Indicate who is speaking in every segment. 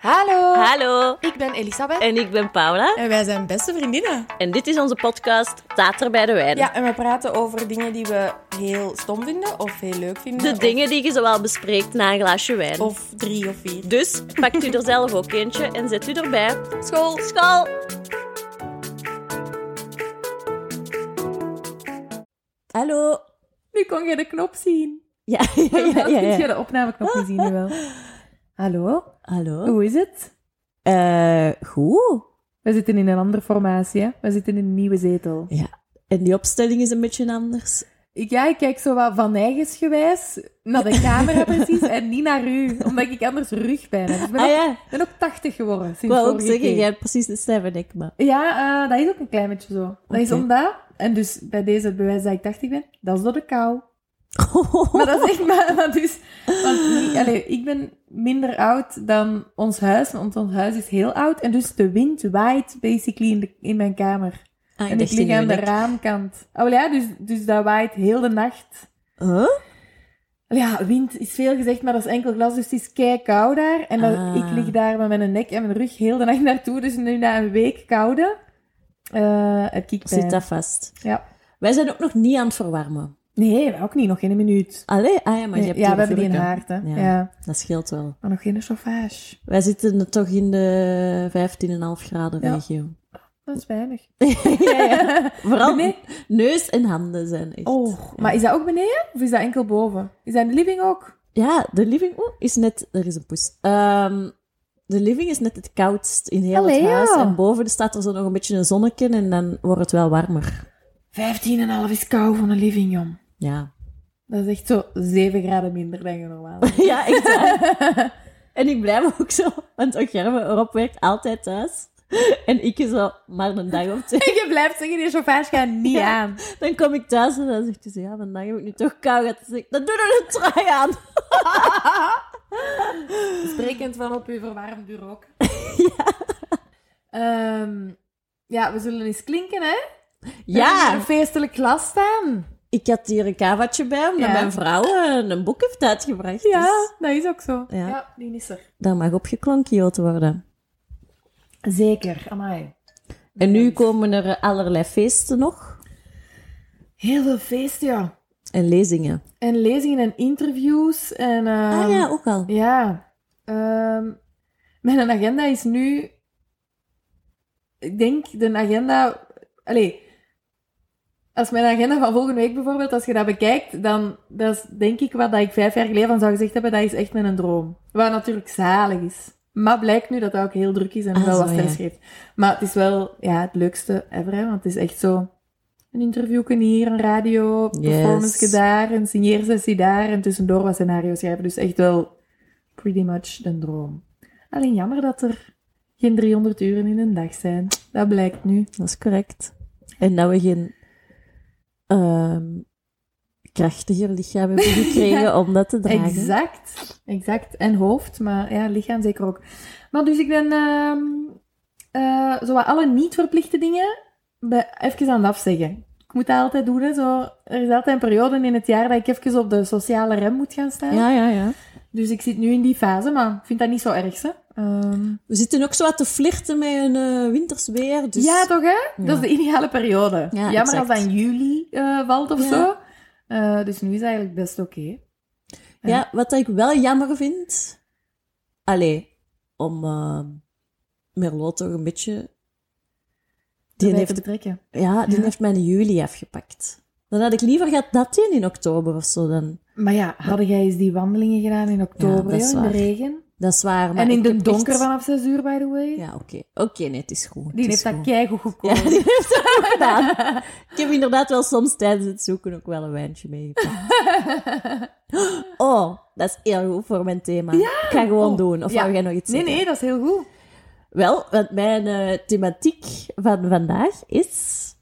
Speaker 1: Hallo.
Speaker 2: Hallo,
Speaker 1: Ik ben Elisabeth.
Speaker 2: en ik ben Paula.
Speaker 1: En wij zijn beste vriendinnen.
Speaker 2: En dit is onze podcast Tater bij de Wijn.
Speaker 1: Ja, en we praten over dingen die we heel stom vinden of heel leuk vinden.
Speaker 2: De
Speaker 1: of-
Speaker 2: dingen die je zowel bespreekt na een glaasje wijn.
Speaker 1: Of drie of vier.
Speaker 2: Dus pakt u er zelf ook eentje en zet u erbij.
Speaker 1: School.
Speaker 2: School!
Speaker 1: Hallo.
Speaker 3: Nu kon je de knop zien.
Speaker 2: Ja, ja, ja.
Speaker 3: Dan
Speaker 2: ja,
Speaker 3: kun
Speaker 2: ja.
Speaker 3: je de opnameknop niet zien nu wel. Hallo,
Speaker 2: Oh. Hallo.
Speaker 3: hoe is het?
Speaker 2: Eh, goed.
Speaker 3: We zitten in een andere formatie, hè? We zitten in een nieuwe zetel.
Speaker 2: En die opstelling is een beetje anders.
Speaker 3: Ik- Ja, ik kijk zo wat van eigensgewijs naar de camera precies en niet naar u, omdat ik anders rugpijn heb. Dus Ik ben,
Speaker 2: Ah
Speaker 3: ook,
Speaker 2: ja,
Speaker 3: ben ook 80 geworden
Speaker 2: ik
Speaker 3: sinds
Speaker 2: wou ook
Speaker 3: vorige
Speaker 2: zeggen,
Speaker 3: keer.
Speaker 2: jij hebt precies de stem en ik, maar...
Speaker 3: Ja, eh, dat is ook een klein beetje zo. Dat is
Speaker 2: Oké.
Speaker 3: omdat, en dus bij deze het bewijs dat ik 80 ben, dat is door de kou. Maar dat
Speaker 2: Oh.
Speaker 3: is echt maar, maar dus, want niet- allee, ik ben minder oud dan ons huis, want ons huis is heel oud. En dus de wind waait basically in, de, in mijn kamer.
Speaker 2: Ah,
Speaker 3: en ik
Speaker 2: dacht
Speaker 3: lig
Speaker 2: in uw
Speaker 3: aan de
Speaker 2: nek.
Speaker 3: raamkant. Oh wel ja, dus, dus dat waait heel de nacht.
Speaker 2: Huh?
Speaker 3: Allee, Ja, wind is veel gezegd, maar dat is enkel glas, dus het is kei koud daar. En dat,
Speaker 2: Ah.
Speaker 3: ik lig daar met mijn nek en mijn rug heel de nacht naartoe. Dus nu na een week koude, eh heb ik pijn.
Speaker 2: Zit dat vast?
Speaker 3: Ja.
Speaker 2: Wij zijn ook nog niet aan het verwarmen.
Speaker 3: Nee, ook niet, nog geen minuut.
Speaker 2: Allee? Ah ja, maar je hebt
Speaker 3: ja,
Speaker 2: hier
Speaker 3: we hebben die in
Speaker 2: vurken.
Speaker 3: haard, hè.
Speaker 2: Ja.
Speaker 3: ja.
Speaker 2: Dat scheelt wel.
Speaker 3: Maar nog geen chauffage.
Speaker 2: Wij zitten toch in de 15,5 graden
Speaker 3: Ja.
Speaker 2: regio.
Speaker 3: Dat is weinig.
Speaker 2: ja, ja. Vooral
Speaker 3: Beneden?
Speaker 2: neus en handen zijn echt.
Speaker 3: Oh, maar is dat ook beneden of is dat enkel boven? Is dat in de living ook?
Speaker 2: Ja, de living oeh, is net. Er is een poes. Ehm, de living is net het koudst in heel
Speaker 3: Allee,
Speaker 2: het
Speaker 3: ja.
Speaker 2: huis. En boven staat er zo nog een beetje een zonnetje en dan wordt het wel warmer.
Speaker 3: 15,5 is kou van een living, jong.
Speaker 2: Ja,
Speaker 3: Dat is echt zo 7 graden minder dan je normaal. hebt.
Speaker 2: ja echt waar. En ik blijf ook zo, want ook Gerben erop werkt altijd thuis. En ik zo maar een dag of twee.
Speaker 3: je blijft zeggen, die chauffage gaat niet
Speaker 2: Ja.
Speaker 3: aan.
Speaker 2: Dan kom ik thuis en dan zegt hij zo, ja, vandaag heb ik nu toch kou gehad. Dan zeg ik, dan doe er een trui aan.
Speaker 3: Sprekend van op uw verwarmd uur ook. ja. ja, we zullen eens klinken, hè? We hebben
Speaker 2: Ja,
Speaker 3: een feestelijk glas staan.
Speaker 2: ik had hier een kavatje bij, omdat
Speaker 3: Ja.
Speaker 2: mijn vrouw eh, een boek heeft uitgebracht. Dus
Speaker 3: dat is ook zo.
Speaker 2: Ja.
Speaker 3: die is er.
Speaker 2: daar mag opgeklonkioot worden.
Speaker 3: Zeker, amai.
Speaker 2: En nu komen er allerlei feesten nog.
Speaker 3: Heel veel feesten, ja.
Speaker 2: En lezingen.
Speaker 3: En lezingen en interviews. En, ehm,
Speaker 2: ah ja, ook al.
Speaker 3: Ja. Ehm, mijn agenda is nu... Ik denk de agenda... Allee, als mijn agenda van volgende week bijvoorbeeld, als je dat bekijkt, dan dat is denk ik wat dat ik vijf jaar geleden van zou gezegd hebben, dat is echt mijn droom. Wat natuurlijk zalig is. Maar blijkt nu dat dat ook heel druk is en
Speaker 2: Ah,
Speaker 3: wel
Speaker 2: zo,
Speaker 3: wat stress
Speaker 2: ja.
Speaker 3: geeft. Maar het is wel ja, het leukste ever, hè, want het is echt zo... Een interviewken hier, een radio,
Speaker 2: Yes.
Speaker 3: performance daar, een signeersessie daar en tussendoor wat scenario schrijven. Dus echt wel pretty much de droom. Alleen jammer dat er geen 300 uren in een dag zijn. Dat blijkt nu.
Speaker 2: Dat is correct. En dat we geen ehm, krachtiger lichaam hebben gekregen
Speaker 3: Ja,
Speaker 2: om dat te dragen.
Speaker 3: Exact, exact. En hoofd, maar ja, lichaam zeker ook. Maar dus ik ben ehm eh, zowat alle niet verplichte dingen be- even aan het afzeggen. Ik moet dat altijd doen. Hè, zo. Er is altijd een periode in het jaar dat ik even op de sociale rem moet gaan staan.
Speaker 2: Ja, ja, ja.
Speaker 3: Dus ik zit nu in die fase, maar ik vind dat niet zo erg. Hè. Ehm,
Speaker 2: We zitten ook zo wat te flirten met een eh, winters weer. Dus...
Speaker 3: Ja, toch hè?
Speaker 2: Ja.
Speaker 3: Dat is de ideale periode. Jammer
Speaker 2: exact.
Speaker 3: als dat in juli eh, valt of
Speaker 2: Ja.
Speaker 3: zo. Eh, dus nu is het eigenlijk best oké.
Speaker 2: Ja, wat ik wel jammer vind. Allee, om eh Merlot toch een beetje. Die
Speaker 3: Erbij te
Speaker 2: heeft,
Speaker 3: betrekken.
Speaker 2: ja, die
Speaker 3: Ja.
Speaker 2: heeft mij in juli afgepakt. Dan had ik liever gehad dat die in oktober of zo dan.
Speaker 3: Maar ja, hadden jij eens die wandelingen gedaan in oktober
Speaker 2: dat is
Speaker 3: joh, in
Speaker 2: waar.
Speaker 3: de regen?
Speaker 2: Dat is waar. Maar
Speaker 3: en in
Speaker 2: ik
Speaker 3: de
Speaker 2: heb
Speaker 3: donker
Speaker 2: echt-
Speaker 3: vanaf 6 uur, by the way.
Speaker 2: Ja, oké. Oké, nee, het is goed. het
Speaker 3: Die
Speaker 2: is
Speaker 3: heeft dat
Speaker 2: goed.
Speaker 3: keigoed
Speaker 2: Ja,
Speaker 3: gekozen.
Speaker 2: die heeft dat ook gedaan. Ik heb inderdaad wel soms tijdens het zoeken ook wel een wijntje meegepakt. Oh, dat is heel goed voor mijn thema. ik ga gewoon
Speaker 3: Oh,
Speaker 2: doen. Of
Speaker 3: ja.
Speaker 2: wou jij nog iets
Speaker 3: Nee,
Speaker 2: zeggen?
Speaker 3: nee, dat is heel goed.
Speaker 2: Wel, want mijn eh, thematiek van vandaag is.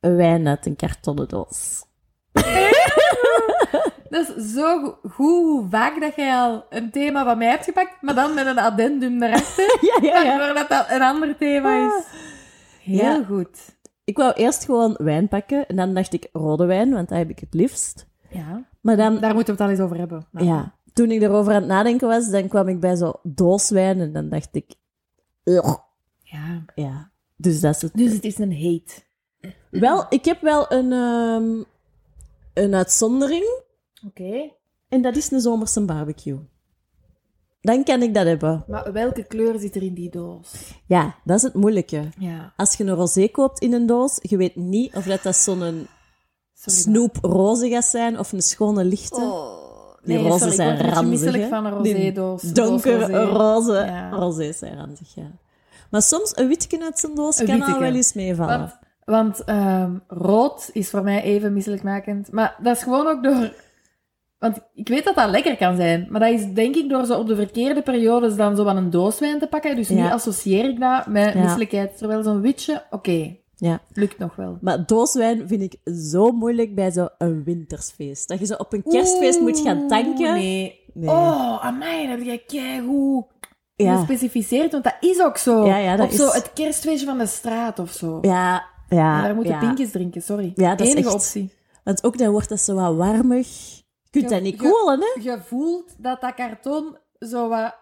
Speaker 2: Wijn uit een kartonnen doos.
Speaker 3: Dat is zo go- goed hoe vaak dat jij al een thema van mij hebt gepakt, maar dan met een addendum erachter,
Speaker 2: Ja, ja, ja. Ah.
Speaker 3: waardoor dat dat een ander thema is. Heel
Speaker 2: Ja.
Speaker 3: goed.
Speaker 2: Ik wou eerst gewoon wijn pakken en dan dacht ik rode wijn, want dat heb ik het liefst.
Speaker 3: Ja.
Speaker 2: Maar dan,
Speaker 3: Daar moeten we het al eens over hebben. Nou.
Speaker 2: ja, toen ik erover aan het nadenken was, dan kwam ik bij zo'n dooswijn en dan dacht ik... "Ugh."
Speaker 3: Ja.
Speaker 2: Ja, dus dat is het.
Speaker 3: Dus het is een hate.
Speaker 2: Wel, ik heb wel een, ehm, een uitzondering.
Speaker 3: Oké.
Speaker 2: En dat is een zomerse barbecue. Dan kan ik dat hebben.
Speaker 3: Maar welke kleur zit er in die doos?
Speaker 2: Ja, dat is het moeilijke.
Speaker 3: Ja.
Speaker 2: Als je een rosé koopt in een doos, je weet niet of dat, dat zo'n
Speaker 3: Sorry.
Speaker 2: snoep roze gaat zijn of een schone lichte.
Speaker 3: Oh,
Speaker 2: Die
Speaker 3: nee,
Speaker 2: rozen
Speaker 3: sorry,
Speaker 2: zijn
Speaker 3: ik word een beetje
Speaker 2: ranzig,
Speaker 3: misselijk
Speaker 2: hè?
Speaker 3: van een
Speaker 2: Die
Speaker 3: rosé-doos.
Speaker 2: Donkere
Speaker 3: Roze rosé.
Speaker 2: roze.
Speaker 3: Ja.
Speaker 2: Rosé zijn ranzig, ja. Maar soms een witje uit zijn doos
Speaker 3: Een
Speaker 2: kan al
Speaker 3: witteke.
Speaker 2: wel eens meevallen.
Speaker 3: Want, want ehm, rood is voor mij even misselijkmakend. Maar dat is gewoon ook door... Want ik weet dat dat lekker kan zijn. Maar dat is denk ik door zo op de verkeerde periodes dan zo aan een dooswijn te pakken. Dus
Speaker 2: Ja.
Speaker 3: nu associeer ik dat met
Speaker 2: Ja.
Speaker 3: misselijkheid. Terwijl zo'n witje, oké,
Speaker 2: Ja.
Speaker 3: lukt nog wel.
Speaker 2: Maar dooswijn vind ik zo moeilijk bij zo'n wintersfeest. Dat je zo op een kerstfeest moet gaan tanken.
Speaker 3: Oeh, Nee.
Speaker 2: Nee.
Speaker 3: Oh, amai, dat heb jij keigoed
Speaker 2: ja.
Speaker 3: gespecificeerd. Want dat is ook zo.
Speaker 2: Ja, ja, dat
Speaker 3: op zo
Speaker 2: is-
Speaker 3: het kerstfeestje van de straat of zo.
Speaker 2: ja, ja.
Speaker 3: Maar daar moeten
Speaker 2: ja.
Speaker 3: pinkjes drinken, sorry.
Speaker 2: Ja, dat is
Speaker 3: Enige
Speaker 2: echt-
Speaker 3: optie.
Speaker 2: Want ook dan wordt dat zo wat warmig. Je kunt
Speaker 3: Ja,
Speaker 2: dat niet
Speaker 3: ja.
Speaker 2: koelen, hè?
Speaker 3: je voelt dat dat karton zo wat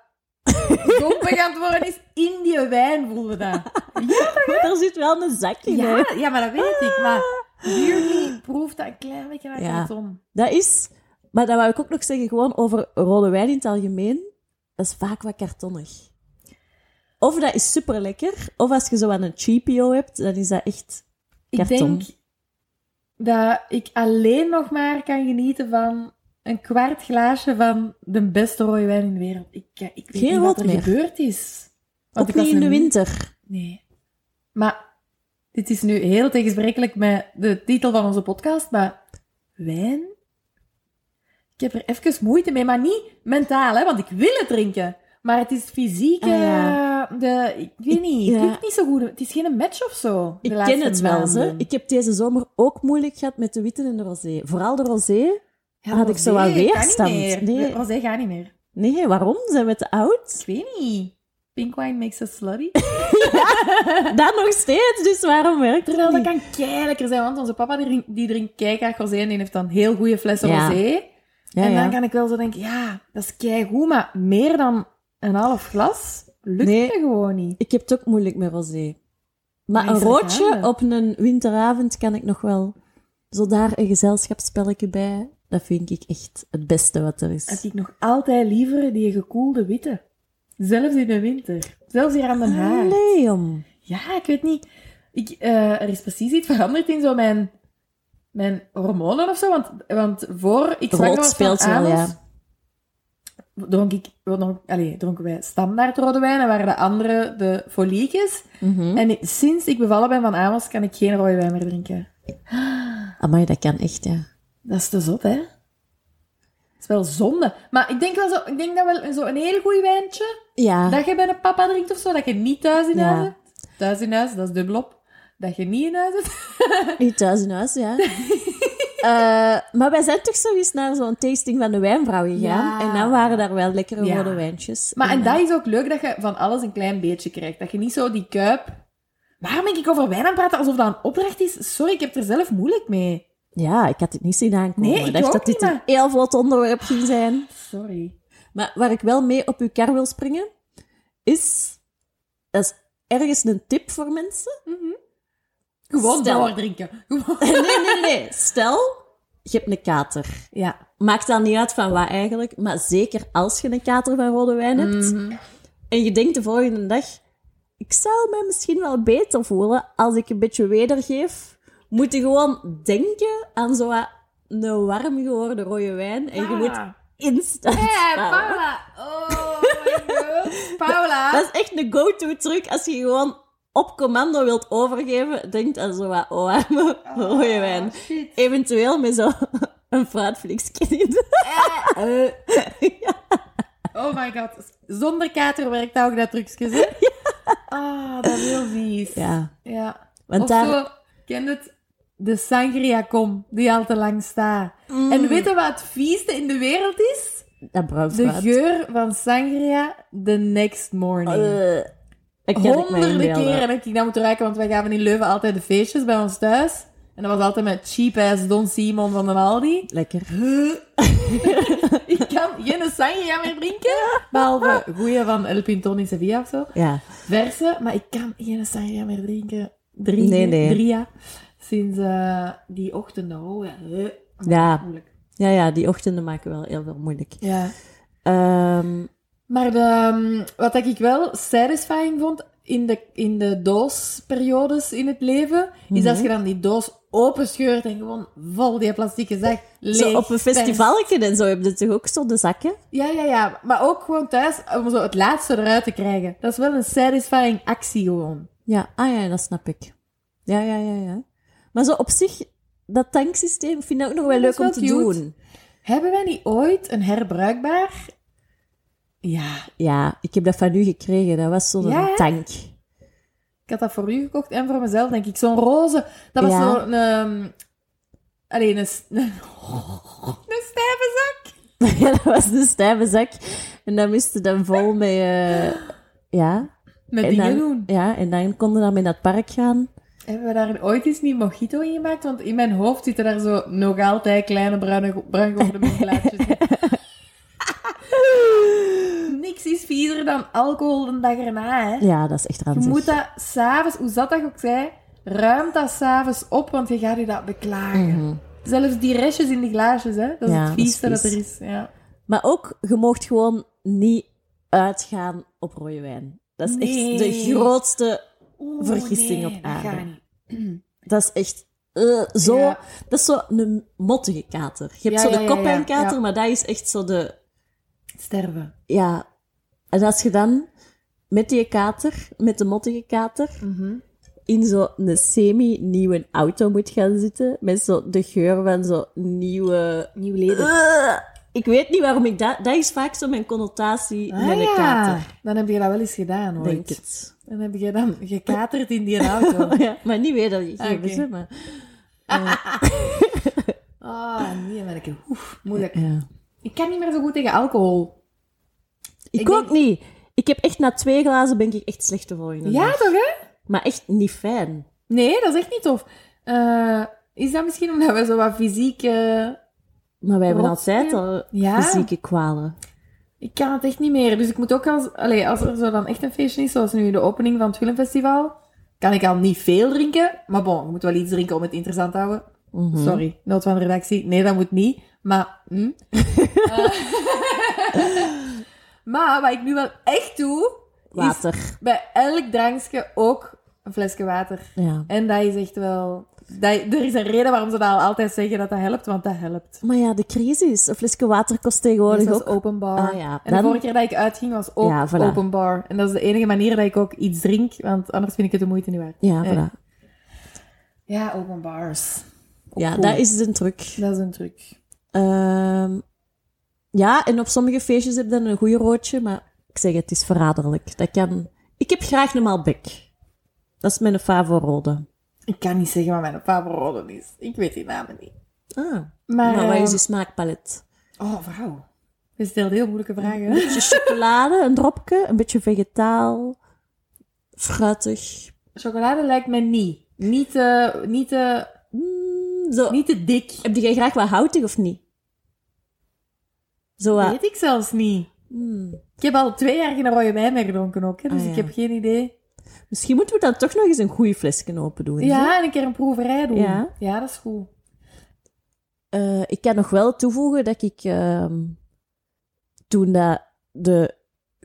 Speaker 3: dompig aan het worden is. In die wijn voelde dat.
Speaker 2: Want er zit wel een zak in, hè?
Speaker 3: Ja, ja, maar dat weet ik. Maar Weirdly proeft dat een klein beetje naar
Speaker 2: Ja.
Speaker 3: karton.
Speaker 2: Dat is... Maar dat wou ik ook nog zeggen, gewoon over rode wijn in het algemeen. Dat is vaak wat kartonnig. Of dat is super lekker, of als je zo aan een cheapio hebt, dan is dat echt...
Speaker 3: Ik
Speaker 2: Karton.
Speaker 3: denk dat ik alleen nog maar kan genieten van een kwart glaasje van de beste rode wijn in de wereld. Ik, ik weet
Speaker 2: Geen
Speaker 3: niet
Speaker 2: rood
Speaker 3: wat er
Speaker 2: meer.
Speaker 3: gebeurd is.
Speaker 2: Ook
Speaker 3: ik was
Speaker 2: niet in de
Speaker 3: een-
Speaker 2: winter.
Speaker 3: Nee. Maar dit is nu heel tegensprekelijk met de titel van onze podcast, maar wijn? Ik heb er even moeite mee, maar niet mentaal, hè, want ik wil het drinken. Maar het is fysiek,
Speaker 2: Ah, ja.
Speaker 3: eh, de, ik weet niet,
Speaker 2: ja.
Speaker 3: het lukt niet zo goed. Het is geen match of zo. de
Speaker 2: Ik ken
Speaker 3: laatste
Speaker 2: het wel, hè.
Speaker 3: maanden.
Speaker 2: Ik heb deze zomer ook moeilijk gehad met de witte en de rosé. Vooral de rosé.
Speaker 3: Ja,
Speaker 2: had ik zo
Speaker 3: rosé
Speaker 2: wat
Speaker 3: kan niet
Speaker 2: weerstand.
Speaker 3: meer.
Speaker 2: Nee.
Speaker 3: De Rosé gaat niet meer.
Speaker 2: Nee, waarom? Zijn we te oud?
Speaker 3: Ik weet niet. Pink wine makes us slutty.
Speaker 2: Dat nog steeds, dus waarom werkt het
Speaker 3: Terwijl dat
Speaker 2: niet?
Speaker 3: kan lekker zijn, want onze papa die drinkt, die drinkt keigraag rosé en die heeft dan heel goede flessen
Speaker 2: Ja.
Speaker 3: rosé.
Speaker 2: Ja,
Speaker 3: en dan
Speaker 2: ja.
Speaker 3: kan ik wel zo denken, ja, dat is keigoed, maar meer dan een half glas lukt
Speaker 2: Nee.
Speaker 3: me gewoon niet.
Speaker 2: Ik heb het ook moeilijk met rosé. Maar
Speaker 3: Maar
Speaker 2: een
Speaker 3: is er
Speaker 2: roodje
Speaker 3: gaande?
Speaker 2: op een winteravond kan ik nog wel. Zo daar een gezelschapsspelletje bij. Dat vind ik echt het beste wat er
Speaker 3: Heb
Speaker 2: is.
Speaker 3: ik nog altijd liever die gekoelde witte. Zelfs in de winter. Zelfs hier aan
Speaker 2: Ah.
Speaker 3: mijn haar.
Speaker 2: Allee, om.
Speaker 3: Ja, ik weet niet. Ik, eh, er is precies iets veranderd in zo mijn, mijn hormonen of zo. Want, want voor ik zwanger
Speaker 2: Rood
Speaker 3: was van
Speaker 2: speelt wel,
Speaker 3: Amos,
Speaker 2: ja.
Speaker 3: dronk ik, wel nog- allee, dronken wij standaard rode wijn en waren de andere de foliekjes.
Speaker 2: Mhm.
Speaker 3: En sinds ik bevallen ben van Amos, kan ik geen rode wijn meer drinken.
Speaker 2: Amai, dat kan echt, ja.
Speaker 3: Dat is te zot, hè? Dat is wel zonde. Maar ik denk, wel zo, ik denk dat wel zo'n heel goed wijntje,
Speaker 2: Ja,
Speaker 3: dat je bij een papa drinkt of zo, dat je niet thuis in
Speaker 2: Ah. Ja.
Speaker 3: huis hebt. Thuis in huis, dat is dubbel op. Dat je niet in huis hebt.
Speaker 2: niet thuis in huis, ja. Eh, maar wij zijn toch zo eens naar zo'n tasting van de wijnvrouw gegaan.
Speaker 3: Ja.
Speaker 2: En dan waren daar wel lekkere
Speaker 3: Ja.
Speaker 2: rode wijntjes.
Speaker 3: Maar en
Speaker 2: eh,
Speaker 3: dat is ook leuk, dat je van alles een klein beetje krijgt. Dat je niet zo die kuip... Waarom ben ik over wijn aan het praten alsof dat een opdracht is? Sorry, ik heb er zelf moeilijk mee.
Speaker 2: Ja, ik had dit niet zien aankomen.
Speaker 3: Nee, ik
Speaker 2: dacht
Speaker 3: ook
Speaker 2: dat dit
Speaker 3: niet,
Speaker 2: een
Speaker 3: maar-
Speaker 2: heel vlot onderwerp ging zijn.
Speaker 3: Sorry.
Speaker 2: Maar waar ik wel mee op uw kar wil springen, is... Dat is ergens een tip voor mensen.
Speaker 3: Gewoon
Speaker 2: Stel.
Speaker 3: doordrinken. Gewoon.
Speaker 2: Nee, nee, nee. Stel, je hebt een kater.
Speaker 3: Ja.
Speaker 2: Maakt dan niet uit van wat eigenlijk, maar zeker als je een kater van rode wijn hebt.
Speaker 3: Mm. Mhm.
Speaker 2: En je denkt de volgende dag, ik zou mij misschien wel beter voelen als ik een beetje wedergeef. Moet je gewoon denken aan zo'n een warm geworden rode wijn.
Speaker 3: Ah.
Speaker 2: En je moet
Speaker 3: Paula.
Speaker 2: instant
Speaker 3: Hey,
Speaker 2: bouwen.
Speaker 3: Paula. Oh my god. Paula.
Speaker 2: Dat is echt een go-to-truc als je gewoon op commando wilt overgeven. Denk aan zo wat warme rode wijn.
Speaker 3: Ah, shit.
Speaker 2: Eventueel met zo een fruitflixje in.
Speaker 3: Eh, eh. Oh my god. Zonder kater werkt dat ook dat trucje, hè? Ah, dat is heel vies.
Speaker 2: Ja,
Speaker 3: Ja.
Speaker 2: want
Speaker 3: of
Speaker 2: daar...
Speaker 3: zo, ken het? De sangria kom, die al te lang staat. En weet je wat het vieste in de wereld is?
Speaker 2: Dat bruin
Speaker 3: De
Speaker 2: fruit.
Speaker 3: geur van sangria the next morning.
Speaker 2: Eh, dat kan ik me
Speaker 3: Honderden
Speaker 2: inbeelden.
Speaker 3: keren heb ik dat moeten ruiken, want wij gaven in Leuven altijd de feestjes bij ons thuis. En En dat was altijd met cheap-ass Don Simon van de Aldi.
Speaker 2: Lekker.
Speaker 3: ik kan geen sangria meer drinken, behalve goeie van El Pinton in Sevilla of zo.
Speaker 2: Ja.
Speaker 3: Verse, maar ik kan geen sangria meer drinken. Drie,
Speaker 2: Nee, nee.
Speaker 3: drie jaar. Sinds eh, die ochtend. Oh, ja. eh,
Speaker 2: Ja.
Speaker 3: moeilijk.
Speaker 2: Ja, ja, die ochtenden maken wel heel veel moeilijk.
Speaker 3: ja.
Speaker 2: Ehm,
Speaker 3: Maar de, ehm, wat ik wel satisfying vond in de, in de doosperiodes in het leven, is
Speaker 2: Mhm.
Speaker 3: als je dan die doos openscheurt en gewoon vol die plastieke zak leeg.
Speaker 2: zo op een
Speaker 3: pers.
Speaker 2: festivalje en zo heb je toch ook zo de zakken?
Speaker 3: Ja, ja, ja. Maar ook gewoon thuis, om zo het laatste eruit te krijgen. Dat is wel een satisfying actie gewoon.
Speaker 2: Ja, ah ja, dat snap ik. Ja, ja, ja, ja. Maar zo op zich, dat tanksysteem, ik vind dat ook nog wel
Speaker 3: Ja, dat
Speaker 2: leuk om
Speaker 3: is
Speaker 2: te
Speaker 3: wel cute.
Speaker 2: doen.
Speaker 3: Hebben wij niet ooit een herbruikbaar... Ja,
Speaker 2: Ja, ik heb dat van u gekregen. Dat was zo'n
Speaker 3: Ja, hè?
Speaker 2: tank.
Speaker 3: Ik had dat voor u gekocht en voor mezelf, denk ik. Zo'n roze. Dat was
Speaker 2: Ja.
Speaker 3: zo'n... ehm, alleen een... s- Een, een stijve zak.
Speaker 2: ja, dat was een stijve zak. En dat moest je dan vol met... eh, ja.
Speaker 3: Met
Speaker 2: en
Speaker 3: dingen
Speaker 2: dan,
Speaker 3: doen.
Speaker 2: Ja, en dan konden we daarmee naar het park gaan.
Speaker 3: Hebben we daar ooit eens niet mojito in gemaakt? Want in mijn hoofd zitten daar zo nog altijd kleine bruine, bruin geworden monglaatjes in. Niks is viezer dan alcohol een dag erna, hè.
Speaker 2: Ja, dat is echt
Speaker 3: Je
Speaker 2: ranzig.
Speaker 3: moet dat s'avonds, hoe zat dat ook zei, ruim dat s'avonds op, want je gaat je dat beklagen.
Speaker 2: Mhm.
Speaker 3: Zelfs die restjes in die glaasjes, hè. Dat is
Speaker 2: Ja,
Speaker 3: het
Speaker 2: dat is
Speaker 3: vieste dat,
Speaker 2: vies.
Speaker 3: er is. Ja.
Speaker 2: Maar ook, je mocht gewoon niet uitgaan op rode wijn. Dat is echt de
Speaker 3: Nee.
Speaker 2: grootste...
Speaker 3: Oeh,
Speaker 2: Vergissing op
Speaker 3: dat
Speaker 2: aarde.
Speaker 3: gaat niet.
Speaker 2: Dat is echt... eh, zo,
Speaker 3: Ja.
Speaker 2: Dat is zo een mottige kater. Je hebt
Speaker 3: Ja,
Speaker 2: zo de
Speaker 3: ja, ja,
Speaker 2: kopijnkater,
Speaker 3: ja, ja.
Speaker 2: maar dat is echt zo de...
Speaker 3: Sterven.
Speaker 2: Ja. En als je dan met die kater, met de mottige kater,
Speaker 3: Mhm.
Speaker 2: in zo'n semi-nieuwe auto moet gaan zitten, met zo de geur van zo'n nieuwe...
Speaker 3: Nieuw leden.
Speaker 2: Eh, ik weet niet waarom ik dat... Dat is vaak zo mijn connotatie met een kater.
Speaker 3: Ah, Dan heb je dat wel eens gedaan, hoor.
Speaker 2: Denk het.
Speaker 3: Dan heb je dan gekaterd in die auto.
Speaker 2: Ja, maar niet weer dat je
Speaker 3: Oh, Ah,
Speaker 2: gegeven
Speaker 3: oké.
Speaker 2: hè, maar...
Speaker 3: Ah, nee, ben ik een- Oef, moeilijk.
Speaker 2: Ja.
Speaker 3: Ik kan niet meer zo goed tegen alcohol.
Speaker 2: Ik,
Speaker 3: Ik
Speaker 2: ook
Speaker 3: denk-
Speaker 2: niet. Ik heb echt na twee glazen ben ik echt slecht de volgende
Speaker 3: Ja,
Speaker 2: dag.
Speaker 3: toch, hè?
Speaker 2: Maar echt niet fijn.
Speaker 3: Nee, dat is echt niet tof. Eh, is dat misschien omdat we zo wat fysiek... eh,
Speaker 2: Maar wij hebben
Speaker 3: Rot,
Speaker 2: altijd
Speaker 3: hè?
Speaker 2: al
Speaker 3: Ja.
Speaker 2: fysieke kwalen.
Speaker 3: Ik kan het echt niet meer. Dus ik moet ook als... Allee, als er zo dan echt een feestje is, zoals nu de opening van het filmfestival, kan ik al niet veel drinken. Maar bon, je moet wel iets drinken om het interessant te houden.
Speaker 2: Mhm.
Speaker 3: Sorry, nood van de redactie. Nee, dat moet niet. Maar... hm. Eh, maar wat ik nu wel echt doe,
Speaker 2: Water.
Speaker 3: is bij elk drankje ook een flesje water.
Speaker 2: Ja.
Speaker 3: En dat is echt wel... Dat, er is een reden waarom ze dat al altijd zeggen dat dat helpt, want dat helpt.
Speaker 2: Maar ja, de crisis. Een flesje water kost tegenwoordig
Speaker 3: Meestal
Speaker 2: ook.
Speaker 3: is open bar.
Speaker 2: Ah, ja.
Speaker 3: En de
Speaker 2: Dan-
Speaker 3: vorige keer dat ik uitging was ook
Speaker 2: Ja, voilà.
Speaker 3: open bar. En dat is de enige manier dat ik ook iets drink, want anders vind ik het de moeite niet waard.
Speaker 2: Ja,
Speaker 3: Eh,
Speaker 2: voilà.
Speaker 3: Ja, open bars. Ook
Speaker 2: ja
Speaker 3: cool.
Speaker 2: dat is een truc.
Speaker 3: Dat is een truc.
Speaker 2: Ehm, ja, en op sommige feestjes heb je dan een goeie roodje, maar ik zeg het, het is verraderlijk. Dat kan... Ik heb graag een Malbec. Dat is mijn favorode.
Speaker 3: Ik kan niet zeggen wat mijn favorite is. Ik weet die namen niet.
Speaker 2: Ah,
Speaker 3: Maar,
Speaker 2: maar wat
Speaker 3: eh,
Speaker 2: is je smaakpalet?
Speaker 3: Oh, Mm-hmm. vrouw. Je stelt heel moeilijke vragen.
Speaker 2: Een beetje chocolade, een dropje, een beetje vegetaal, fruitig.
Speaker 3: Chocolade lijkt me niet. Niet te, niet te,
Speaker 2: Mm, zo.
Speaker 3: niet te dik.
Speaker 2: Heb jij graag wat houtig of niet? Zo wat.
Speaker 3: Weet ik zelfs niet.
Speaker 2: Hmm.
Speaker 3: Ik heb al twee jaar geen rode wijn meer gedronken ook, hè, dus
Speaker 2: Ah, ja.
Speaker 3: ik heb geen idee.
Speaker 2: Misschien moeten we dan toch nog eens een goede flesje open doen.
Speaker 3: Ja, en een keer een proeverij doen.
Speaker 2: Ja.
Speaker 3: dat is goed.
Speaker 2: Eh, ik kan nog wel toevoegen dat ik ehm, toen dat de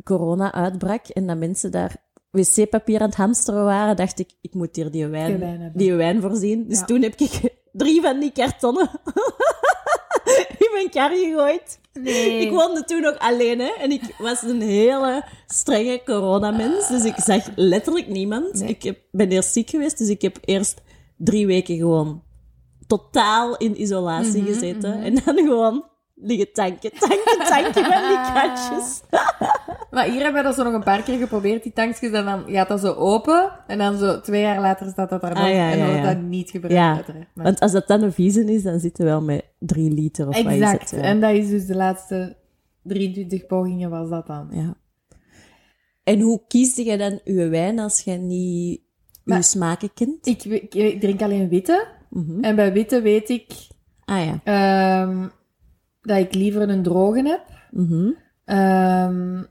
Speaker 2: corona uitbrak en dat mensen daar wc-papier aan het hamsteren waren, dacht ik, ik moet hier die wijn,
Speaker 3: Die wijn hebben.
Speaker 2: die wijn voorzien. Dus
Speaker 3: Ja.
Speaker 2: toen heb ik drie van die kartonnen in mijn kar gegooid.
Speaker 3: Nee.
Speaker 2: Ik woonde toen nog alleen, hè. En ik was een hele strenge coronamens. Dus ik zag letterlijk niemand.
Speaker 3: Nee.
Speaker 2: Ik heb, ben eerst ziek geweest, dus ik heb eerst drie weken gewoon totaal in isolatie
Speaker 3: Mhm,
Speaker 2: gezeten. En dan gewoon liggen tanken, tanken, tanken met die kratjes.
Speaker 3: Maar hier hebben we dat zo nog een paar keer geprobeerd, die tankjes. En dan gaat dat zo open. En dan zo twee jaar later staat dat daar nog.
Speaker 2: Ah, ja,
Speaker 3: en dan
Speaker 2: ja,
Speaker 3: wordt
Speaker 2: ja.
Speaker 3: dat niet gebruikt,
Speaker 2: Ja,
Speaker 3: uiteraard. Maar-
Speaker 2: want als dat dan een vieze is, dan zitten we wel met drie liter of wat is
Speaker 3: Exact.
Speaker 2: het, ja.
Speaker 3: En dat is dus de laatste 23 pogingen was dat dan.
Speaker 2: Ja. En hoe kies je dan je wijn als je niet je
Speaker 3: Maar-
Speaker 2: smaken kent?
Speaker 3: Ik, ik drink alleen witte.
Speaker 2: Mhm.
Speaker 3: En bij witte weet ik
Speaker 2: Ah ja.
Speaker 3: ehm, dat ik liever een droge heb.
Speaker 2: Mhm.
Speaker 3: Ehm,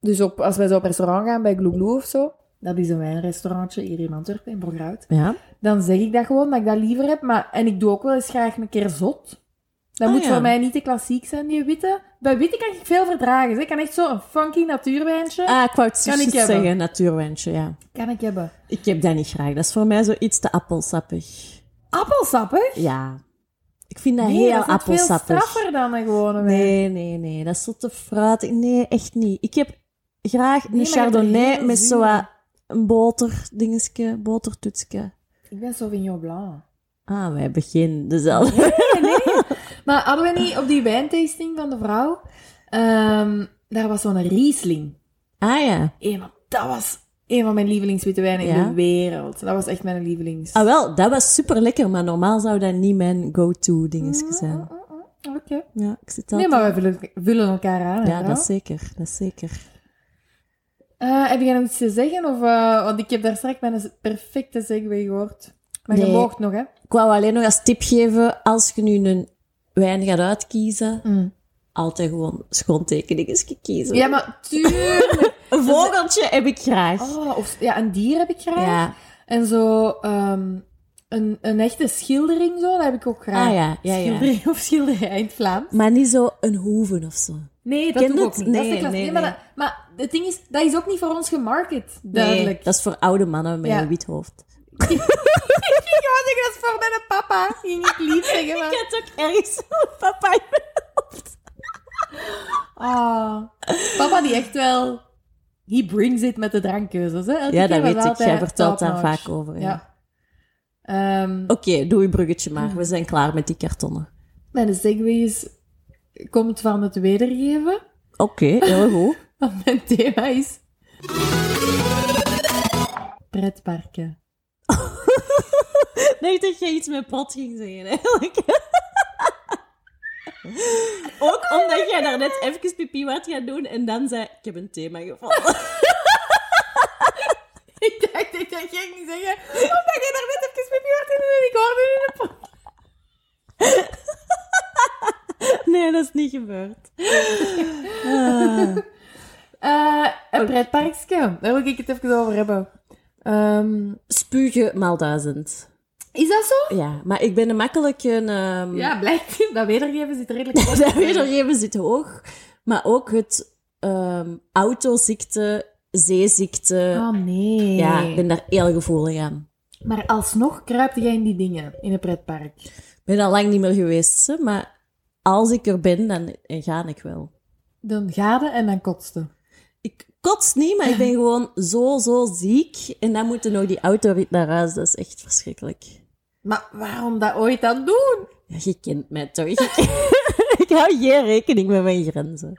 Speaker 3: dus op, als wij zo op restaurant gaan bij Glu Glu of zo, dat is een wijnrestaurantje hier in Antwerpen, in Borgerhout,
Speaker 2: Ja.
Speaker 3: dan zeg ik dat gewoon, dat ik dat liever heb. Maar, en ik doe ook wel eens graag een keer zot. Dat
Speaker 2: Ah,
Speaker 3: moet
Speaker 2: ja.
Speaker 3: voor mij niet te klassiek zijn, die witte. Bij witte kan ik veel verdragen. zeg. Ik kan echt zo'n funky natuurwijntje
Speaker 2: Ah, ik wou het
Speaker 3: Kan ik
Speaker 2: zoiets
Speaker 3: hebben.
Speaker 2: zeggen, natuurwijntje, ja.
Speaker 3: kan ik hebben.
Speaker 2: Ik heb dat niet graag. Dat is voor mij zoiets te appelsappig.
Speaker 3: Appelsappig?
Speaker 2: Ja. Ik vind dat
Speaker 3: Nee,
Speaker 2: heel
Speaker 3: dat is net veel
Speaker 2: appelsappig.
Speaker 3: straffer dan een gewone wijn.
Speaker 2: Nee, nee, nee. Dat is zo te fruitig. Nee, echt niet. Ik heb graag
Speaker 3: maar
Speaker 2: een
Speaker 3: je hebt er
Speaker 2: chardonnay
Speaker 3: heel
Speaker 2: met
Speaker 3: zuur.
Speaker 2: zo wat een boterdingetje, botertoetsje.
Speaker 3: Ik ben Sauvignon Blanc.
Speaker 2: Ah, wij hebben geen dezelfde.
Speaker 3: Maar hadden we niet op die wijntasting van de vrouw, ehm, daar was zo'n Riesling.
Speaker 2: Ah ja.
Speaker 3: Eén van- dat was een van mijn lievelingswitte wijnen in
Speaker 2: Ja?
Speaker 3: de wereld. Dat was echt mijn lievelings.
Speaker 2: Ah wel, dat was super lekker, maar normaal zou dat niet mijn go-to dingetje zijn.
Speaker 3: Mm, mm, mm, Oké.
Speaker 2: Ja, ik zit
Speaker 3: Nee,
Speaker 2: altijd-
Speaker 3: maar wij vullen, vullen elkaar aan. hè,
Speaker 2: Ja,
Speaker 3: wel?
Speaker 2: dat zeker. Dat zeker.
Speaker 3: Eh, heb jij nog iets te zeggen? Of, eh, want ik heb daar straks mijn perfecte segue gehoord. Maar je
Speaker 2: Nee.
Speaker 3: moogt nog, hè?
Speaker 2: Ik wou alleen nog als tip geven, als je nu een wijn gaat uitkiezen, altijd gewoon schoontekeningen kiezen. Dus-
Speaker 3: Ja, maar tuurlijk.
Speaker 2: Een vogeltje heb ik graag.
Speaker 3: Oh, of, ja, een dier heb ik graag.
Speaker 2: ja.
Speaker 3: En zo ehm, een, een echte schildering, zo, dat heb ik ook graag.
Speaker 2: Ah ja, ja, ja.
Speaker 3: Schildering of schilderij in het Vlaams.
Speaker 2: Maar niet zo een hoeven of zo.
Speaker 3: Nee, dat
Speaker 2: Ken
Speaker 3: doe ik ook
Speaker 2: het?
Speaker 3: niet. dat is de
Speaker 2: Nee,
Speaker 3: klas-
Speaker 2: nee,
Speaker 3: nee, maar,
Speaker 2: nee.
Speaker 3: dat- maar het ding is, dat is ook niet voor ons gemarket,
Speaker 2: Nee,
Speaker 3: duidelijk.
Speaker 2: dat is voor oude mannen met
Speaker 3: Ja.
Speaker 2: een wit hoofd.
Speaker 3: Ik wou zeggen, dat is voor mijn papa. Ging ik lief zeggen, maar...
Speaker 2: heb ook ergens papa.
Speaker 3: Ah, papa die echt wel... He brings it met de drankkeuzes, hè. Elke
Speaker 2: Ja,
Speaker 3: keer
Speaker 2: dat
Speaker 3: was
Speaker 2: weet ik.
Speaker 3: altijd
Speaker 2: Jij vertelt daar
Speaker 3: topnotch.
Speaker 2: vaak over. Ja.
Speaker 3: Ja. Ehm,
Speaker 2: Oké, doe je bruggetje maar. We zijn klaar met die kartonnen.
Speaker 3: Mijn segue is... Komt van het wedergeven.
Speaker 2: Oké, heel goed.
Speaker 3: Want mijn thema is... Pretparken.
Speaker 2: Nee, dat je iets met pot ging zeggen, eigenlijk. Ook omdat jij daarnet even pipi wat gaat doen en dan zei ik heb een thema gevonden.
Speaker 3: Ik dacht, ik dacht, ik niet zeggen. Omdat jij daar net even met je hart in en ik hoorde je in de podcast.
Speaker 2: Nee, dat is niet gebeurd.
Speaker 3: Eh, een pretparkje. Daar wil ik het even over hebben. Ehm,
Speaker 2: Spugen maal duizend.
Speaker 3: is dat zo?
Speaker 2: Ja, maar ik ben een makkelijk een... ehm,
Speaker 3: Ja, blijkt. Dat wedergeven zit redelijk goed.
Speaker 2: Dat wedergeven zit hoog. Maar ook het ehm, autoziekte, zeeziekte.
Speaker 3: Oh nee.
Speaker 2: Ja, ik ben daar heel gevoelig aan.
Speaker 3: Maar alsnog kruipt jij in die dingen in een pretpark.
Speaker 2: Ik ben al lang niet meer geweest, hè, maar als ik er ben, dan eh, ga ik wel.
Speaker 3: Dan gade en dan kotste.
Speaker 2: Ik kots niet, maar ik ben gewoon zo, zo ziek. En dan moet er nog die autorit naar huis. Dat is echt verschrikkelijk.
Speaker 3: Maar waarom dat ooit dan doen?
Speaker 2: Ja, je kent mij toch? ik hou geen rekening met mijn grenzen.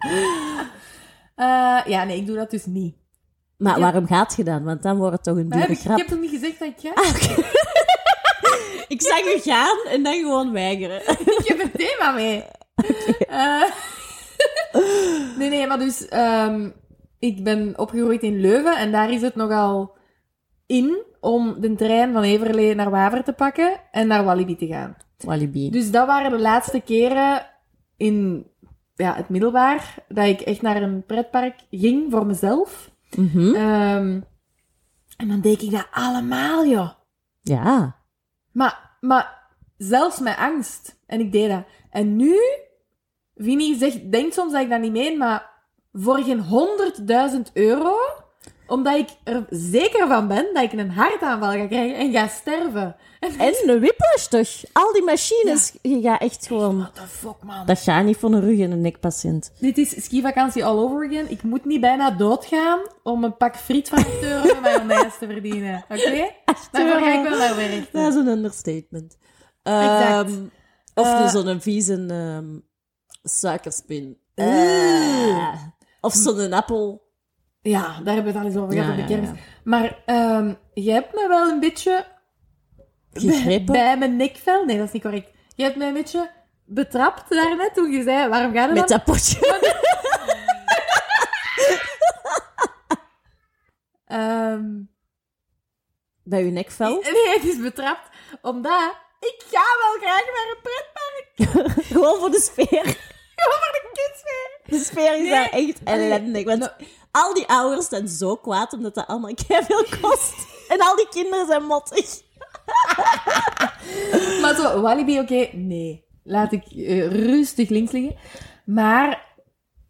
Speaker 3: Eh, ja, nee, ik doe dat dus niet.
Speaker 2: Maar
Speaker 3: Ja.
Speaker 2: waarom gaat je dan? Want dan wordt het toch een
Speaker 3: Maar heb
Speaker 2: dure
Speaker 3: ik, ik
Speaker 2: grap.
Speaker 3: heb toch niet gezegd dat ik ga?
Speaker 2: Ik zag je gaan en dan gewoon weigeren.
Speaker 3: ik heb een thema mee. Eh, nee, nee, maar dus... ehm, ik ben opgegroeid in Leuven en daar is het nogal in om de trein van Everlee naar Waver te pakken en naar Walibi te gaan.
Speaker 2: Walibi.
Speaker 3: Dus dat waren de laatste keren in ja, het middelbaar dat ik echt naar een pretpark ging voor mezelf.
Speaker 2: Mhm.
Speaker 3: Ehm, en dan deed ik dat allemaal, joh.
Speaker 2: Ja.
Speaker 3: Maar, maar zelfs met angst. En ik deed dat. En nu, Vinnie zegt, denkt soms dat ik dat niet meen, maar voor geen 100.000 euro, omdat ik er zeker van ben dat ik een hartaanval ga krijgen en ga sterven.
Speaker 2: En een whiplash toch? Al die machines. Je gaat echt gewoon...
Speaker 3: What the fuck, man?
Speaker 2: Dat gaat niet voor een rug- en een nekpatiënt.
Speaker 3: Dit is skivakantie all over again. Ik moet niet bijna doodgaan om een pak friet van 8 euro met mayonaise te verdienen. Oké? Daarvoor ga ik wel naar werk.
Speaker 2: Dat is een understatement.
Speaker 3: Exact.
Speaker 2: Ehm, of
Speaker 3: Eh,
Speaker 2: dus zo'n vieze ehm, suikerspin. Eh.
Speaker 3: Oeh.
Speaker 2: Of zo'n appel.
Speaker 3: Ja, daar hebben we het al eens over gehad
Speaker 2: Ja,
Speaker 3: op de
Speaker 2: ja,
Speaker 3: kermis. Maar ehm je hebt me wel een beetje
Speaker 2: Gegrepen.
Speaker 3: bij mijn nekvel... Nee, dat is niet correct. Je hebt mij een beetje betrapt daarnet toen je zei, waarom ga je
Speaker 2: Met
Speaker 3: dan?
Speaker 2: dat potje.
Speaker 3: Ehm,
Speaker 2: Bij uw nekvel.
Speaker 3: Ehm,
Speaker 2: Nou?
Speaker 3: nee, het is betrapt. Omdat ik ga wel graag naar een pretpark.
Speaker 2: Gewoon voor de sfeer.
Speaker 3: Gewoon voor de kidsfeer.
Speaker 2: De sfeer is
Speaker 3: Nee.
Speaker 2: daar echt ellendig. Want
Speaker 3: Nou-
Speaker 2: al die ouders zijn zo kwaad omdat dat allemaal veel kost. En al die kinderen zijn mottig.
Speaker 3: Maar zo, Walibi, oké, nee. Laat ik eh, rustig links liggen. Maar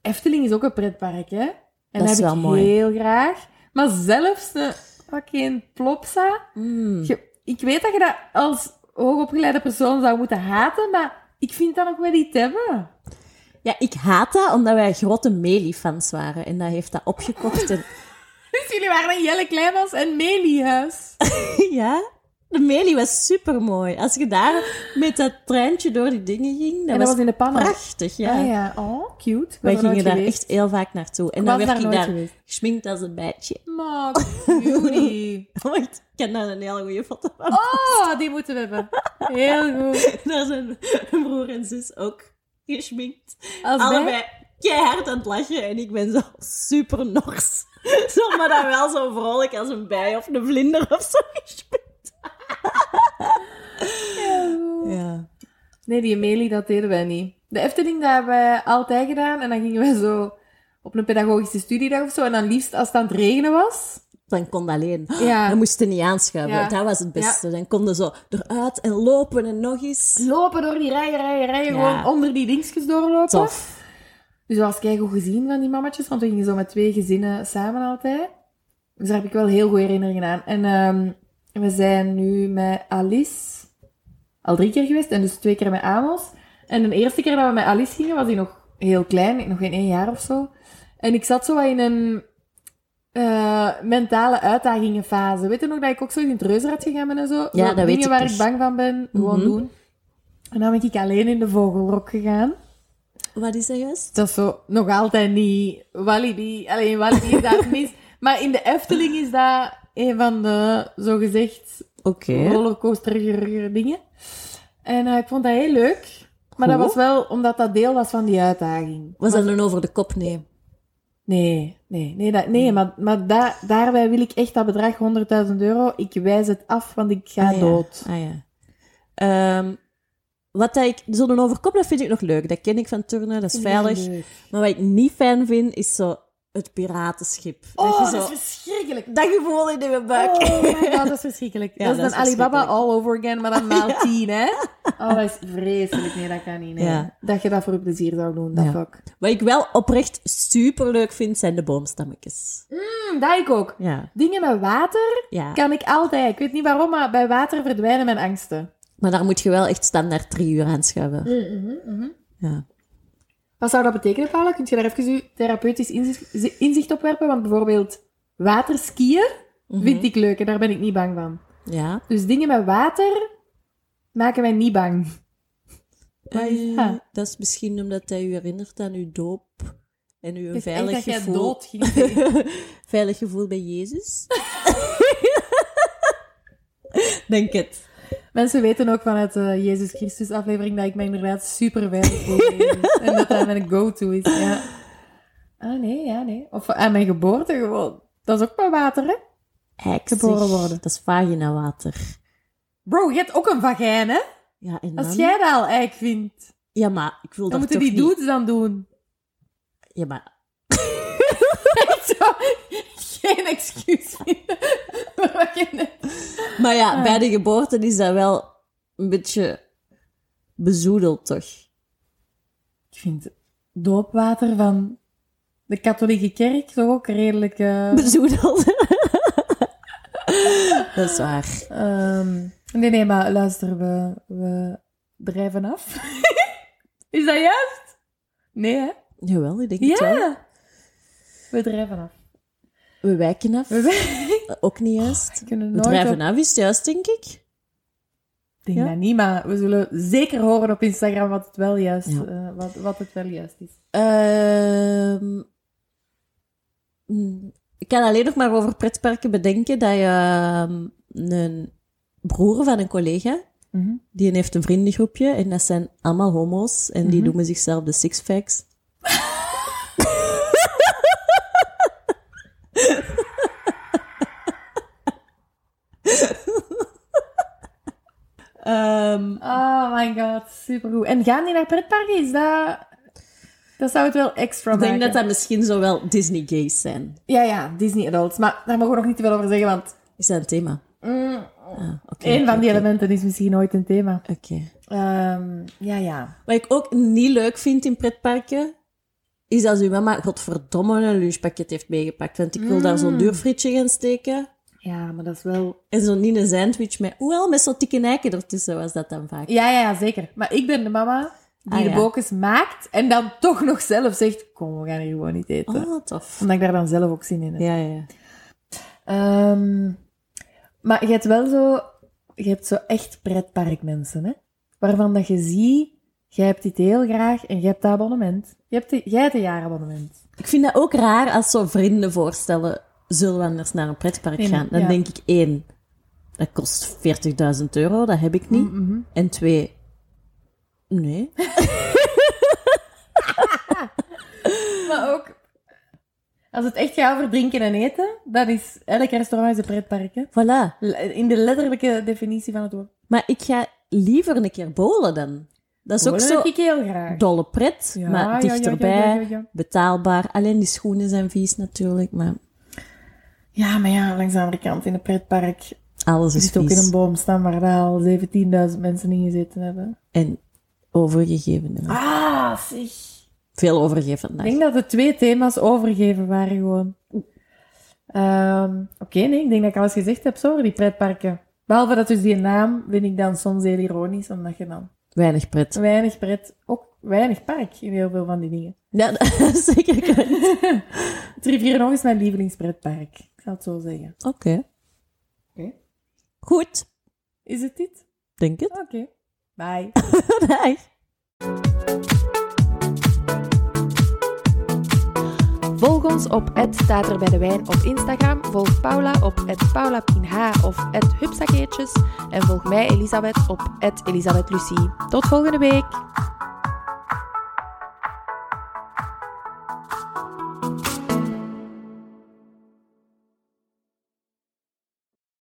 Speaker 3: Efteling is ook een pretpark, hè? En
Speaker 2: Dat is
Speaker 3: heb
Speaker 2: wel
Speaker 3: ik
Speaker 2: mooi.
Speaker 3: heel graag. Maar zelfs een fucking plopsa.
Speaker 2: Mm. Hm.
Speaker 3: Je- ik weet dat je dat als hoogopgeleide persoon zou moeten haten, maar ik vind dat ook wel iets hebben.
Speaker 2: Ja, ik haat dat omdat wij grote Meli-fans waren. En dat heeft dat opgekocht. En...
Speaker 3: Dus jullie waren in Jelle Kleinmans en Meliehuis.
Speaker 2: ja, de Meli was supermooi. Als je daar met dat treintje door die dingen ging, dat,
Speaker 3: en dat
Speaker 2: was,
Speaker 3: was in de pannen.
Speaker 2: prachtig. Ja.
Speaker 3: Ah ja, oh, cute. Ik
Speaker 2: Wij
Speaker 3: ben er nooit
Speaker 2: gingen daar
Speaker 3: geweest.
Speaker 2: echt heel vaak naartoe. En
Speaker 3: Ik
Speaker 2: dan
Speaker 3: was daar
Speaker 2: werd ik
Speaker 3: nooit
Speaker 2: daar
Speaker 3: geweest.
Speaker 2: geschminkt als een bijtje.
Speaker 3: Maar cutie.
Speaker 2: Ooit, ik ken daar een hele goede foto van.
Speaker 3: Oh, die moeten we hebben. Heel goed.
Speaker 2: Daar zijn mijn broer en zus ook geschminkt.
Speaker 3: Als
Speaker 2: Allebei keihard aan het lachen en ik ben zo super nors. Zo, maar dan wel zo vrolijk als een bij of een vlinder of zo geschminkt. Ja.
Speaker 3: Nee, die Amelie, dat deden wij niet. De Efteling, dat hebben wij altijd gedaan. En dan gingen wij zo op een pedagogische studiedag of zo. En dan liefst als het aan het regenen was.
Speaker 2: Dan kon dat alleen.
Speaker 3: Ja.
Speaker 2: Dan moesten niet aanschuiven.
Speaker 3: Ja.
Speaker 2: Dat was het beste. Dan konden ze eruit en lopen en nog eens.
Speaker 3: Lopen door die rijen, rijen, rijen.
Speaker 2: Ja.
Speaker 3: Gewoon onder die dingetjes doorlopen.
Speaker 2: Tof.
Speaker 3: Dus dat was keigoed gezien van die mammetjes. Want we gingen zo met twee gezinnen samen altijd. Dus daar heb ik wel heel goede herinneringen aan. En ehm, we zijn nu met Alice al drie keer geweest. En dus twee keer met Amos. En de eerste keer dat we met Alice gingen, was hij nog heel klein. Nog geen één jaar of zo. En ik zat zo wat in een eh, mentale uitdagingenfase. Weet je nog dat ik ook zo in het reuzenrad gegaan ben en zo?
Speaker 2: Ja,
Speaker 3: Zo
Speaker 2: dat weet
Speaker 3: dingen
Speaker 2: ik
Speaker 3: waar
Speaker 2: nog.
Speaker 3: ik bang van ben, gewoon
Speaker 2: Mhm.
Speaker 3: doen. En dan ben ik alleen in de vogelrok gegaan.
Speaker 2: Wat is dat juist?
Speaker 3: Dat is zo nog altijd niet Walibi. Alleen Walibi is daar mis. Maar in de Efteling is dat een van de zogezegd
Speaker 2: Oké.
Speaker 3: rollercoaster dingen. En eh, ik vond dat heel leuk. Maar dat
Speaker 2: Goed.
Speaker 3: was wel omdat dat deel was van die uitdaging.
Speaker 2: Was dat een over de kop neem?
Speaker 3: Nee, nee, nee, dat, nee maar, maar da- daarbij wil ik echt dat bedrag 100.000 euro. Ik wijs het af, want ik ga
Speaker 2: Ah, ja.
Speaker 3: dood.
Speaker 2: Ah ja. Ehm, wat dat ik, zo'n overkop, dat vind ik nog leuk. Dat ken ik van turnen, dat is veilig.
Speaker 3: Leuk.
Speaker 2: Maar wat ik niet fijn vind, is zo het piratenschip.
Speaker 3: Oh,
Speaker 2: dat,
Speaker 3: dat,
Speaker 2: je zo,
Speaker 3: is verschrikkelijk.
Speaker 2: dat gevoel in je buik.
Speaker 3: Oh my god, dat is verschrikkelijk.
Speaker 2: Ja,
Speaker 3: dat is
Speaker 2: dat
Speaker 3: dan
Speaker 2: is
Speaker 3: Alibaba
Speaker 2: verschrikkelijk.
Speaker 3: all over again, maar dan maal tien, hè? Oh, dat is vreselijk. Nee, dat kan niet. nee.
Speaker 2: Ja.
Speaker 3: Dat je dat voor je plezier zou doen, dat
Speaker 2: Ja.
Speaker 3: fuck.
Speaker 2: Wat ik wel oprecht superleuk vind, zijn de boomstammetjes.
Speaker 3: Hm, dat ik ook.
Speaker 2: Ja.
Speaker 3: Dingen met water
Speaker 2: ja.
Speaker 3: kan ik altijd. Ik weet niet waarom, maar bij water verdwijnen mijn angsten.
Speaker 2: Maar daar moet je wel echt standaard drie uur aan schuiven. Ja.
Speaker 3: Wat zou dat betekenen, Paula? Kun je daar even je therapeutisch inzicht, inzicht op werpen? Want bijvoorbeeld waterskiën
Speaker 2: Mhm.
Speaker 3: vind ik leuk en daar ben ik niet bang van.
Speaker 2: Ja.
Speaker 3: Dus dingen met water maken mij niet bang. Wat is
Speaker 2: Eh,
Speaker 3: dat?
Speaker 2: dat is misschien omdat hij u herinnert aan uw doop en uw een
Speaker 3: Ik denk
Speaker 2: veilig
Speaker 3: dat jij
Speaker 2: gevoel.
Speaker 3: dood ging.
Speaker 2: veilig gevoel bij Jezus. Denk het.
Speaker 3: Mensen weten ook vanuit de Jezus Christus aflevering dat ik me inderdaad super veilig voel. bij Jezus. en dat dat mijn go-to is. Ja. Ah nee, ja nee. Of aan mijn geboorte gewoon. Dat is ook maar water, hè?
Speaker 2: Heksig.
Speaker 3: Geboren worden.
Speaker 2: Dat is vaginawater.
Speaker 3: Bro, je hebt ook een vagijn, hè?
Speaker 2: Ja, en
Speaker 3: Als
Speaker 2: dan-
Speaker 3: jij dat al eigenlijk vindt,
Speaker 2: Ja, maar ik wil
Speaker 3: dan
Speaker 2: dat
Speaker 3: moeten
Speaker 2: toch
Speaker 3: die
Speaker 2: niet...
Speaker 3: dudes dan doen.
Speaker 2: Ja, maar...
Speaker 3: Zo, geen excuus vinden. voor wat je net-
Speaker 2: maar ja,
Speaker 3: Ah.
Speaker 2: bij de geboorte is dat wel een beetje bezoedeld, toch?
Speaker 3: Ik vind doopwater van de katholieke kerk toch ook redelijk... eh,
Speaker 2: Bezoedeld. dat is waar.
Speaker 3: Ehm, nee, nee, maar luister, we, we drijven af. Is dat juist? Nee, hè?
Speaker 2: Jawel, ik denk het wel.
Speaker 3: We drijven af.
Speaker 2: We wijken af.
Speaker 3: We wij-
Speaker 2: Eh, Ook niet juist.
Speaker 3: we kunnen
Speaker 2: We
Speaker 3: nooit
Speaker 2: drijven
Speaker 3: op...
Speaker 2: af is juist, denk ik.
Speaker 3: Ik denk
Speaker 2: Ja.
Speaker 3: dat niet, maar we zullen zeker horen op Instagram wat het wel juist,
Speaker 2: Ja.
Speaker 3: eh, wat, wat het wel juist is.
Speaker 2: Ehm, mm, ik kan alleen nog maar over pretparken bedenken dat je ehm, een broer van een collega,
Speaker 3: Mhm.
Speaker 2: die heeft een vriendengroepje en dat zijn allemaal homo's en die
Speaker 3: Mhm.
Speaker 2: noemen zichzelf de Sixpacks. Ehm Ehm,
Speaker 3: Oh my god, supergoed. En gaan die naar pretparken? Is dat... Dat zou het wel extra
Speaker 2: ik
Speaker 3: maken.
Speaker 2: denk dat dat misschien zo wel Disney-gays zijn.
Speaker 3: Ja, ja, Disney Adults. Maar daar mogen we nog niet te veel over zeggen, want...
Speaker 2: Is dat een thema?
Speaker 3: mm,
Speaker 2: Ah, oké,
Speaker 3: Eén van die
Speaker 2: oké,
Speaker 3: elementen is misschien nooit een thema.
Speaker 2: Oké.
Speaker 3: Ehm, ja, ja.
Speaker 2: Wat ik ook niet leuk vind in pretparken, is als uw mama godverdomme een lunchpakket heeft meegepakt. Want ik wil daar
Speaker 3: Mm.
Speaker 2: zo'n duur frietje gaan steken.
Speaker 3: Ja, maar dat is wel...
Speaker 2: En zo'n niet een sandwich met, hoewel met zo'n dikke eiken ertussen was dat dan vaak.
Speaker 3: Ja, ja, ja, zeker. Maar ik ben de mama die
Speaker 2: Ah,
Speaker 3: de
Speaker 2: ja.
Speaker 3: bokens maakt en dan toch nog zelf zegt... Kom, we gaan hier gewoon niet eten.
Speaker 2: Oh, tof.
Speaker 3: Omdat ik daar dan zelf ook zin in heb.
Speaker 2: Ja, ja, ja.
Speaker 3: Ehm, maar je hebt wel zo... Je hebt zo echt pretparkmensen, hè? Waarvan dat je ziet... Jij hebt dit heel graag en je hebt dat abonnement. Je hebt de, jij hebt een jaarabonnement.
Speaker 2: Ik vind dat ook raar als zo vrienden voorstellen, zullen we anders naar een pretpark
Speaker 3: Nee,
Speaker 2: gaan? Dan
Speaker 3: ja.
Speaker 2: denk ik één, dat kost 40.000 euro, dat heb ik niet.
Speaker 3: Mm,
Speaker 2: En twee, nee.
Speaker 3: Maar ook... Als het echt gaat over drinken en eten, dat is... Elk restaurant is een pretpark, hè?
Speaker 2: Voilà.
Speaker 3: Le- In de letterlijke definitie van het woord.
Speaker 2: Maar ik ga liever een keer bowlen dan. Dat is ook
Speaker 3: Bolen
Speaker 2: zo
Speaker 3: heb ik heel graag.
Speaker 2: dolle pret,
Speaker 3: Ja, ja,
Speaker 2: maar
Speaker 3: ja, ja,
Speaker 2: dichterbij,
Speaker 3: ja, ja, ja.
Speaker 2: betaalbaar. Alleen die schoenen zijn vies natuurlijk, maar
Speaker 3: Ja, maar ja, langs de andere kant in een pretpark
Speaker 2: alles is
Speaker 3: zit ook in
Speaker 2: vies.
Speaker 3: een boom staan waar daar al 17.000 mensen in gezeten hebben.
Speaker 2: En overgegeven. hè.
Speaker 3: Ah, zeg.
Speaker 2: Veel overgeven
Speaker 3: Ik
Speaker 2: vandaag.
Speaker 3: denk dat de twee thema's overgeven waren gewoon. Ehm, Oké, nee, ik denk dat ik alles gezegd heb zo over die pretparken. Behalve dat dus die naam vind ik dan soms heel ironisch, omdat je dan
Speaker 2: Weinig pret.
Speaker 3: weinig pret, ook weinig park in heel veel van die dingen.
Speaker 2: Ja, dat is zeker. correct. Oké.
Speaker 3: Het Rivierenhoog is mijn lievelingspretpark, ik zal het zo zeggen. Oké.
Speaker 2: Goed,
Speaker 3: Is het dit?
Speaker 2: denk het.
Speaker 3: Oké, bye.
Speaker 2: Dag.
Speaker 4: Volg ons op het staat er bij de wijn op Instagram. Volg Paula op het paulapinh of het hupsakeertjes. En volg mij Elisabeth op het Elisabeth Lucie. Tot volgende week!